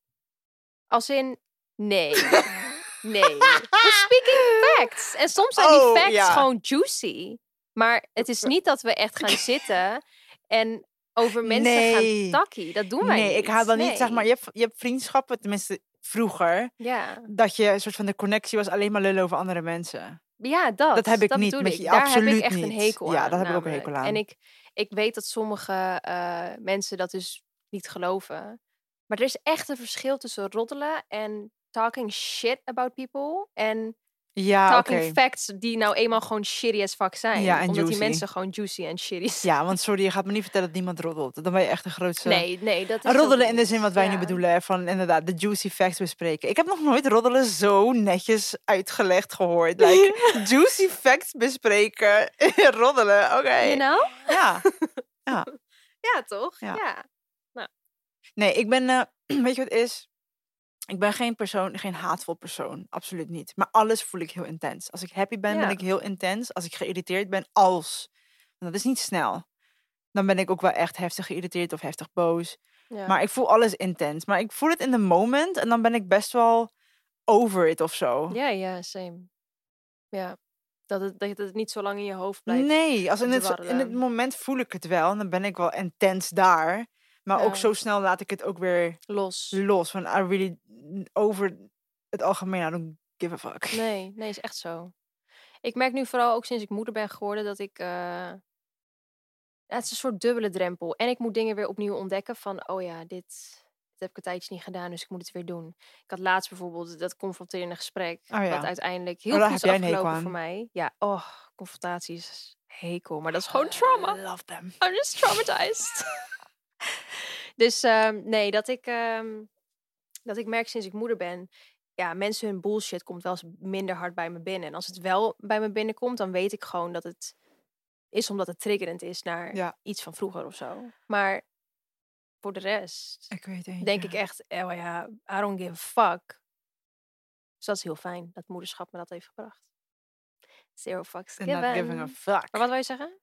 Als in, nee. Nee. We're speaking facts. En soms zijn
Oh,
die facts
ja.
gewoon juicy. Maar het is niet dat we echt gaan zitten en over mensen
Nee.
gaan takkie. Dat doen wij
Nee,
niet.
ik haal dan niet, zeg maar, je
Nee.
hebt, je hebt vriendschappen, tenminste vroeger,
Ja,
dat je een soort van de connectie was alleen maar lullen over andere mensen.
Ja, dat.
heb ik niet
bedoel
met
ik.
je,
Daar heb
absoluut
ik echt een
niet.
hekel aan.
Ja, daar heb ik ook een hekel
namelijk.
aan.
En ik, ik weet dat sommige eh, mensen dat dus niet geloven. Maar er is echt een verschil tussen roddelen en talking shit about people. En
Ja, Ah, oké.
talking facts die nou eenmaal gewoon shitty as fuck zijn.
Ja, en
omdat die
juicy.
mensen gewoon juicy en shitty zijn.
Ja, want sorry, je gaat me niet vertellen dat niemand roddelt. Dan ben je echt de grootste...
Nee, nee, dat is ook
Roddelen in de
niet.
zin wat wij nu
Ja.
bedoelen, hè, van inderdaad de juicy facts bespreken. Ik heb nog nooit roddelen zo netjes uitgelegd gehoord. Like, juicy facts bespreken, roddelen, oké.
You know?
Ja.
Ja, toch?
Ja.
Ja.
Nee, ik ben, eh, weet je wat het is? Ik ben geen persoon, geen haatvol persoon, absoluut niet. Maar alles voel ik heel intens. Als ik happy ben, ben
Ja.
ik heel intens. Als ik geïrriteerd ben, als. want dat is niet snel. Dan ben ik ook wel echt heftig geïrriteerd of heftig boos.
Ja.
Maar ik voel alles intens. Maar ik voel het in de moment en dan ben ik best wel over it of zo.
ja, ja, same. Ja. Dat het, dat het niet zo lang in je hoofd blijft.
nee, als
om
in,
te
het, in het
warrelen.
moment voel ik het wel en dan ben ik wel intens daar. Maar ook
Ja.
zo snel laat ik het ook weer
Los.
los. Van I really over het algemeen, I don't give a fuck.
Nee, nee, is echt zo. Ik merk nu vooral ook sinds ik moeder ben geworden dat ik. eh, ja, het is een soort dubbele drempel. En ik moet dingen weer opnieuw ontdekken van, oh ja, dit, dit heb ik een tijdje niet gedaan, dus ik moet het weer doen. Ik had laatst bijvoorbeeld dat confronterende gesprek,
Oh ja.
wat uiteindelijk
Oh,
heel
daar
goed is
heb jij een hekel
afgelopen voor
aan.
mij. Ja, oh, confrontaties, hekel, maar dat
Eh,
is gewoon trauma.
I love them.
I'm just traumatized. dus ehm, nee, dat ik, ehm, dat ik merk sinds ik moeder ben. Ja, mensen hun bullshit komt wel eens minder hard bij me binnen. En als het wel bij me binnenkomt, dan weet ik gewoon dat het is omdat het triggerend is naar
Ja.
iets van vroeger of zo. Maar voor de rest
Ik weet het.
denk ik echt, oh ja, I don't give a fuck. Dus dat is heel fijn dat moederschap me dat heeft gebracht. Zero fucks
And not
given.
giving a fuck.
Maar wat wil je zeggen?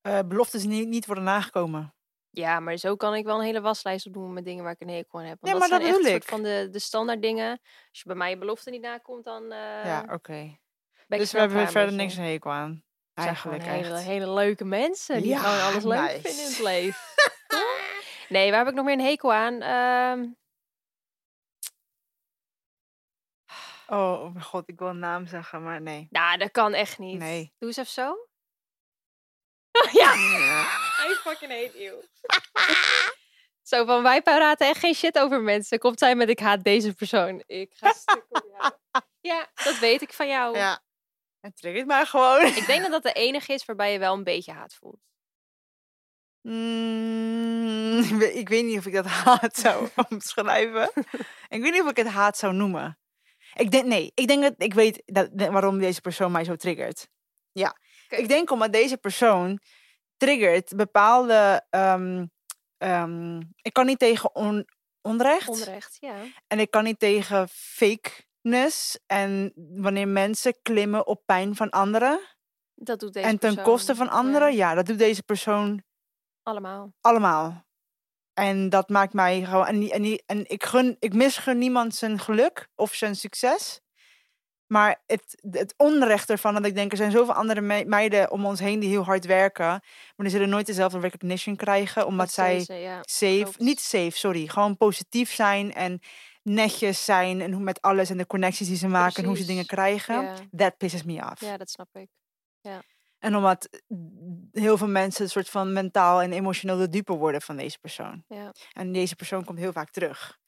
eh, beloftes niet, niet worden nagekomen.
Ja, maar zo kan ik wel een hele waslijst opdoen met dingen waar ik een hekel aan heb. Want
Ja,
dat
maar
zijn
dat
echt
bedoel
soort
ik.
van de, de standaard dingen. Als je bij mij je belofte niet nakomt, dan eh,
ja,
ben
oké.
ik
Dus we
snel
hebben
klaar
verder
met je.
niks een hekel aan.
Het zijn gewoon
Eigenlijk
hele,
echt.
hele leuke mensen die
Ja,
gewoon alles leuk
nice.
vinden in het leven. Toch? nee, waar heb ik nog meer een hekel aan? Ehm,
Oh, oh mijn god, ik wil een naam zeggen, maar nee.
nou, dat kan echt niet.
Nee.
Doe eens even zo. ja,
Ja.
I fucking hate you. Zo van, wij praten echt geen shit over mensen. Komt zij met, ik haat deze persoon. Ik ga stuk op jou. Ja, dat weet ik van jou.
Het triggert maar gewoon.
Ik denk dat dat de enige is waarbij je wel een beetje haat voelt.
Mm, ik weet- ik weet niet of ik dat haat zou omschrijven. ik weet niet of ik het haat zou noemen. Ik denk, nee, ik denk dat ik weet dat, de- waarom deze persoon mij zo triggert. Ja,
Oké.
ik denk omdat deze persoon triggert bepaalde. ehm, ehm, ik kan niet tegen on- onrecht.
Onrecht, ja.
En ik kan niet tegen fakeness. En wanneer mensen klimmen op pijn van anderen.
Dat doet deze
en ten
persoon.
koste van
Ja,
anderen. ja, dat doet deze persoon
allemaal.
allemaal. En dat maakt mij gewoon. En, die- en, die- en ik, gun, ik misgun niemand zijn geluk of zijn succes. Maar het, het onrecht ervan dat ik denk, er zijn zoveel andere me- meiden om ons heen die heel hard werken. Maar die zullen nooit dezelfde recognition krijgen. Omdat
Dat
zij
deze, ja.
safe,
klopt.
niet safe, sorry. Gewoon positief zijn en netjes zijn. En hoe met alles en de connecties die ze maken en hoe ze dingen
Precies,
krijgen.
Ja.
That pisses me af.
ja, dat snap ik.
En omdat mm, heel veel mensen een soort van mentaal en emotioneel de dupe worden van deze persoon.
Ja.
En deze persoon komt heel vaak terug.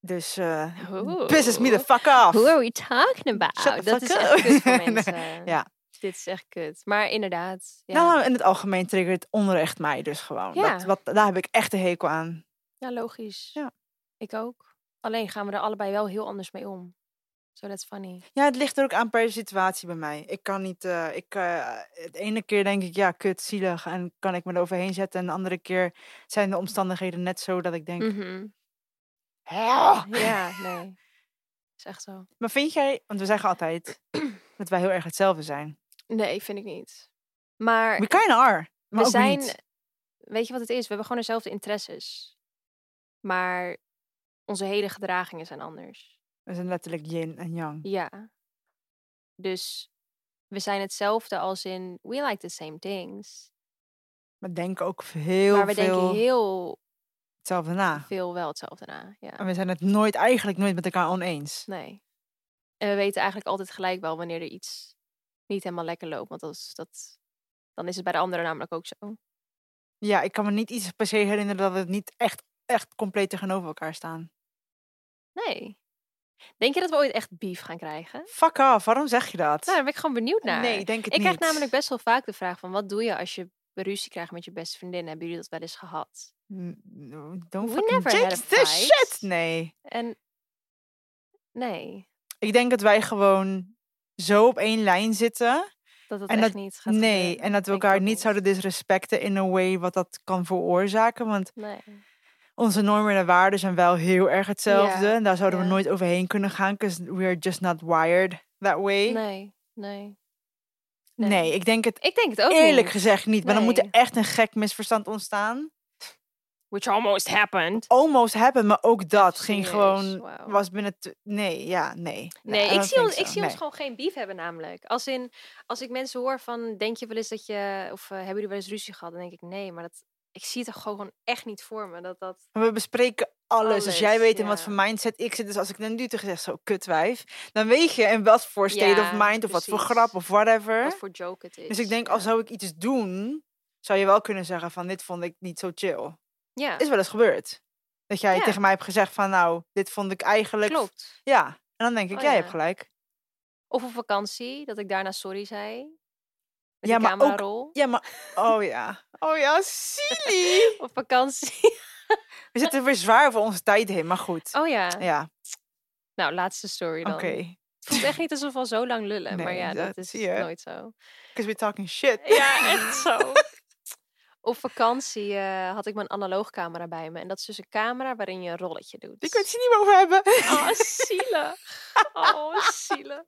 Dus eh
Oeh.
pisses me the fuck off.
Who Oh. are we talking about?
Shut the
dat
fuck
is
up.
echt kut voor
Nee,
mensen.
ja.
Dit is echt kut. Maar inderdaad. Ja,
Nou, in het algemeen triggert onrecht mij dus gewoon.
Ja.
Dat, wat, daar heb ik echt een hekel aan.
ja logisch.
Ja.
Ik ook. Alleen gaan we er allebei wel heel anders mee om. So that's funny.
Ja, het ligt er ook aan per situatie bij mij. Ik kan niet, eh, ik, eh, het ene keer denk ik, ja, kut, zielig. En kan ik me eroverheen zetten. En de andere keer zijn de omstandigheden net zo dat ik denk,
Mhm.
"Hel."
Ja, nee. Is echt zo.
Maar vind jij, want we zeggen altijd dat wij heel erg hetzelfde zijn.
Nee, vind ik niet. Maar
We kind are. Maar
we
ook
zijn...
niet.
Weet je wat het is? We hebben gewoon dezelfde interesses. Maar onze hele gedragingen zijn anders.
We zijn letterlijk yin en yang.
Ja. Dus we zijn hetzelfde als in we like the same things.
We denken ook heel
maar we
veel
denken heel
hetzelfde na.
veel wel hetzelfde na. Ja.
En we zijn het nooit, eigenlijk nooit met elkaar oneens.
Nee. En we weten eigenlijk altijd gelijk wel wanneer er iets niet helemaal lekker loopt. Want dat is, dat, dan is het bij de anderen namelijk ook zo.
Ja, ik kan me niet iets per se herinneren dat we niet echt, echt compleet tegenover elkaar staan.
Nee. Denk je dat we ooit echt beef gaan krijgen? Nou,
Fuck off, waarom zeg je dat?
daar ben ik gewoon benieuwd naar.
nee, ik denk het
Nou, ik
niet.
krijg namelijk best wel vaak de vraag van wat doe je als je ruzie krijgt met je beste vriendin? Hebben jullie dat wel eens gehad?
N- n- Mm, Don't
We
fucking
never had
jinx
a
this
fight.
shit! Nee.
En nee,
Ik denk dat wij gewoon zo op één lijn zitten...
dat dat
En
echt
dat-
niet gaat
Nee,
gebeuren.
en dat we
Denk ik
elkaar
ook
niet zouden disrespecten in een way wat dat kan veroorzaken. Want
Nee.
onze normen en waarden zijn wel heel erg hetzelfde. En daar zouden
ja.
we nooit overheen kunnen gaan, because we're just not wired that way. Nee,
Nee, nee.
ik denk het
Ik denk het ook
eerlijk
niet.
gezegd niet. Maar dan moet er
Nee.
echt een gek misverstand ontstaan.
Which almost happened.
Almost hebben, maar ook dat ging
Serieus,
gewoon...
wauw.
Was binnen... tw- Nee, ja, nee. Ehm,
Nee,
I
ik
don't
zie,
think
ons, ik
so.
zie ons
Nee.
gewoon geen beef hebben namelijk. Als in, als ik mensen hoor van, denk je wel eens dat je, of eh, hebben jullie wel eens ruzie gehad? Dan denk ik, nee, maar dat, ik zie het er gewoon echt niet voor me. Dat, dat,
Maar We bespreken alles. Als jij
Alles,
weet in wat
ja.
voor mindset ik zit, dus als ik dan nu tegen zeg zo kutwijf, dan weet je in wat voor state of
Ja,
mind of wat voor
precies.
grap of whatever.
wat voor joke het is.
Dus ik denk,
ja.
al zou ik iets doen, zou je wel kunnen zeggen van dit vond ik niet zo chill.
Ja,
Is wel eens gebeurd. Dat jij
Ja.
tegen mij hebt gezegd van nou, dit vond ik eigenlijk...
klopt.
Ja, en dan denk ik,
Oh,
jij
ja.
hebt gelijk.
Of op vakantie, dat ik daarna sorry zei. Met
Ja,
de
maar ook-
camerarol.
Ja, maar... Oh ja. Oh ja, silly.
Op vakantie.
We zitten weer zwaar over onze tijd heen, maar goed.
Oh ja.
Ja,
Nou, laatste story
oké.
dan. Het voelt echt niet alsof we al zo lang lullen. maar
Nee,
ja, dat,
dat
is
zie je.
nooit zo.
Because we're talking shit.
Ja, echt zo. Op vakantie eh, had ik mijn analoogcamera bij me. En dat is dus een camera waarin je een rolletje doet.
Ik wil het hier niet meer over hebben.
Oh, zielig. Oh, zielig.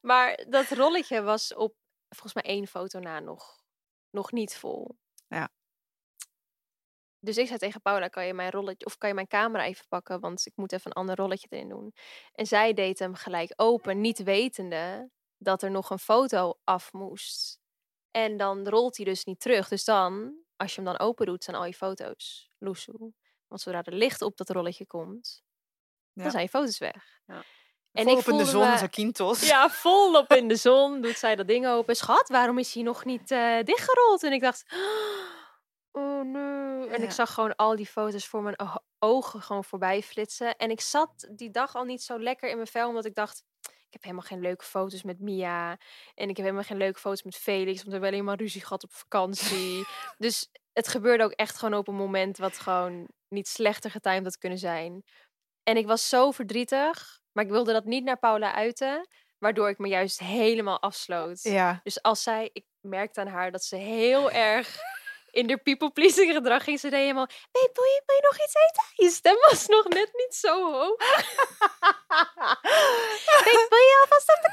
Maar dat rolletje was op volgens mij één foto na nog nog niet vol.
Ja.
Dus ik zei tegen Paula, kan je mijn rolletje of kan je mijn camera even pakken, want ik moet even een ander rolletje erin doen. En zij deed hem gelijk open, niet wetende dat er nog een foto af moest. En dan rolt hij dus niet terug. Dus dan, als je hem dan open doet, zijn al je foto's loesoe. Want zodra er licht op dat rolletje komt,
Ja.
dan zijn je foto's weg.
Ja.
En
Volop
ik voelde
in de zon,
me-
als Akintos.
ja, volop in de zon doet zij dat ding open. Schat, waarom is hij nog niet eh, dichtgerold? En ik dacht, oh nee. En
Ja.
ik zag gewoon al die foto's voor mijn o- ogen gewoon voorbij flitsen. En ik zat die dag al niet zo lekker in mijn vel, omdat ik dacht, ik heb helemaal geen leuke foto's met Mia. En ik heb helemaal geen leuke foto's met Felix, want we hebben alleen maar ruzie gehad op vakantie. dus het gebeurde ook echt gewoon op een moment wat gewoon niet slechter getimed had kunnen zijn. En ik was zo verdrietig, maar ik wilde dat niet naar Paula uiten, waardoor ik me juist helemaal afsloot.
Ja.
Dus als zij, ik merkte aan haar dat ze heel erg in de people-pleasing gedrag ging. Ze deed helemaal, babe, wil je, wil je nog iets eten? Je stem was nog net niet zo hoog. babe, wil je alvast op de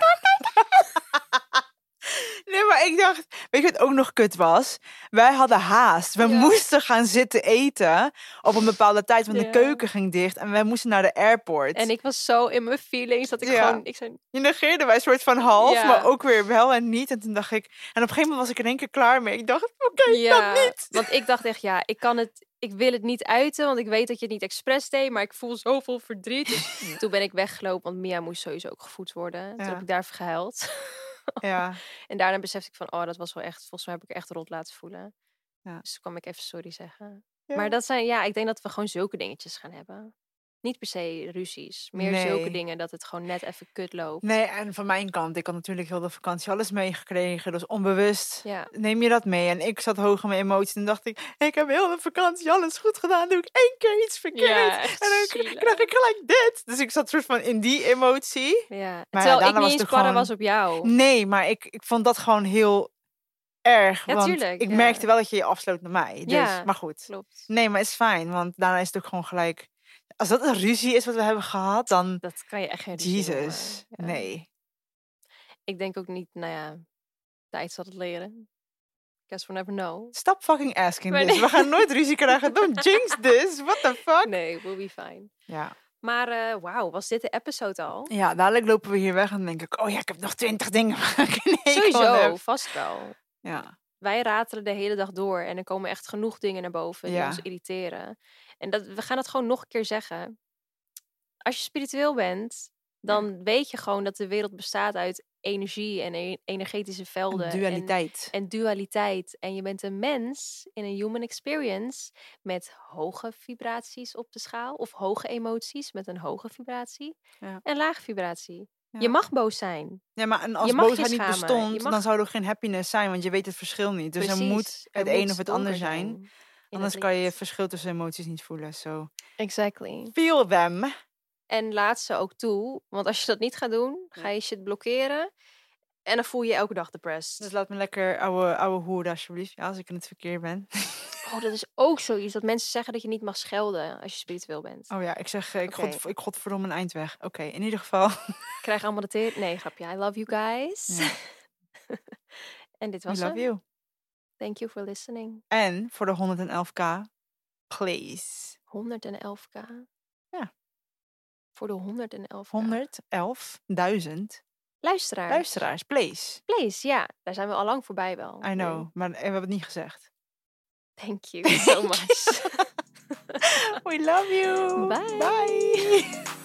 Nee, maar ik dacht, weet je wat ook nog kut was? Wij hadden haast. We
Ja.
moesten gaan zitten eten op een bepaalde tijd, want
Ja.
de keuken ging dicht en wij moesten naar de airport.
En ik was zo in mijn feelings dat ik
Ja.
gewoon... Ik zei,
Je negeerde wij soort van half,
Ja.
maar ook weer wel en niet. En toen dacht ik, en op een gegeven moment was ik in één keer klaar mee. Ik dacht, oké,
ja,
niet.
want ik dacht echt, ja, ik kan het... Ik wil het niet uiten, want ik weet dat je het niet expres deed, maar ik voel zoveel verdriet. Dus toen ben ik weggelopen, want Mia moest sowieso ook gevoed worden. Toen
Ja.
heb ik daarvoor gehuild.
ja.
En daarna besefte ik van, oh, dat was wel echt... Volgens mij heb ik echt rot laten voelen.
Ja.
Dus toen kwam ik even sorry zeggen.
Ja.
Maar dat zijn, ja, ik denk dat we gewoon zulke dingetjes gaan hebben. Niet per se ruzies, meer zulke
Nee.
dingen dat het gewoon net even kut loopt.
Nee, en van mijn kant, ik had natuurlijk heel de vakantie alles meegekregen, dus onbewust.
Ja.
Neem je dat mee? En ik zat hoog in mijn emoties en dacht ik, ik heb heel de vakantie alles goed gedaan, doe ik één keer iets verkeerd.
Ja, echt
en dan k-
zielig.
krijg ik gelijk dit. Dus ik zat soort van in die emotie.
Ja. en
ja,
Terwijl
daarna
ik niet
was
eens
het
barre
gewoon-
was op jou.
Nee, maar ik, ik vond dat gewoon heel erg.
Ja,
want
tuurlijk,
ik
ja.
merkte wel dat je je afsloot naar mij. Dus,
Ja.
Maar goed.
Klopt.
Nee, maar is fijn, want daarna is het ook gewoon gelijk. Als dat een ruzie is wat we hebben gehad, dan.
Dat kan je echt geen ruzie noemen,
Jezus.
ja.
Nee.
Ik denk ook niet, nou ja, tijd zal het leren. Guess we'll never know.
Stop fucking asking
Maar
this.
nee.
We gaan nooit ruzie krijgen. Don't jinx this. What the fuck?
Nee, we'll be fine.
Ja.
Maar eh, wauw, was dit de episode al?
ja, dadelijk lopen we hier weg en dan denk ik... Oh ja, ik heb nog twintig dingen waar ik een hekel aan
Sowieso,
heb.
vast wel.
Ja.
Wij ratelen de hele dag door en er komen echt genoeg dingen naar boven die
Ja.
ons irriteren. En dat, we gaan het gewoon nog een keer zeggen. Als je spiritueel bent, dan weet je gewoon dat de wereld bestaat uit energie en e- energetische velden. en-
Dualiteit.
en dualiteit. En je bent een mens in een human experience met hoge vibraties op de schaal. Of hoge emoties met een hoge vibratie.
Ja.
En lage vibratie. Je
Ja.
mag boos zijn.
Ja, maar en als
je mag je
boosheid niet
schamen. Je
bestond,
mag-
dan zou er geen happiness zijn. Want je weet het verschil niet. Dus
Precies.
er moet
Er
het een
moet
of het ander
donker
zijn.
in het
Anders kan je
licht.
het verschil tussen emoties niet voelen. So,
Exactly.
feel them.
En laat ze ook toe. Want als je dat niet gaat doen, ga je shit blokkeren. En dan voel je je elke dag depressed.
Dus laat me lekker ouwe, ouwe hoeren alsjeblieft. Ja, als ik in het verkeer ben.
Oh, dat is ook zoiets. Dat mensen zeggen dat je niet mag schelden als je spiritueel bent.
Oh ja, ik zeg, eh, ik,
Oké.
god, ik godverdomme een eind weg. Oké, in ieder geval.
Krijg allemaal de teer. Nee, grapje. I love you guys.
Ja.
en dit
We
was
love
hem.
you.
Thank you for listening.
En voor de 111k, please.
111k.
Ja.
Voor de 111
111.000
Luisteraar.
luisteraars, please.
Please, ja. Daar zijn we al lang voorbij wel.
I know, maar eh, we hebben het niet gezegd.
Thank you so much.
We love you.
Bye.
Bye.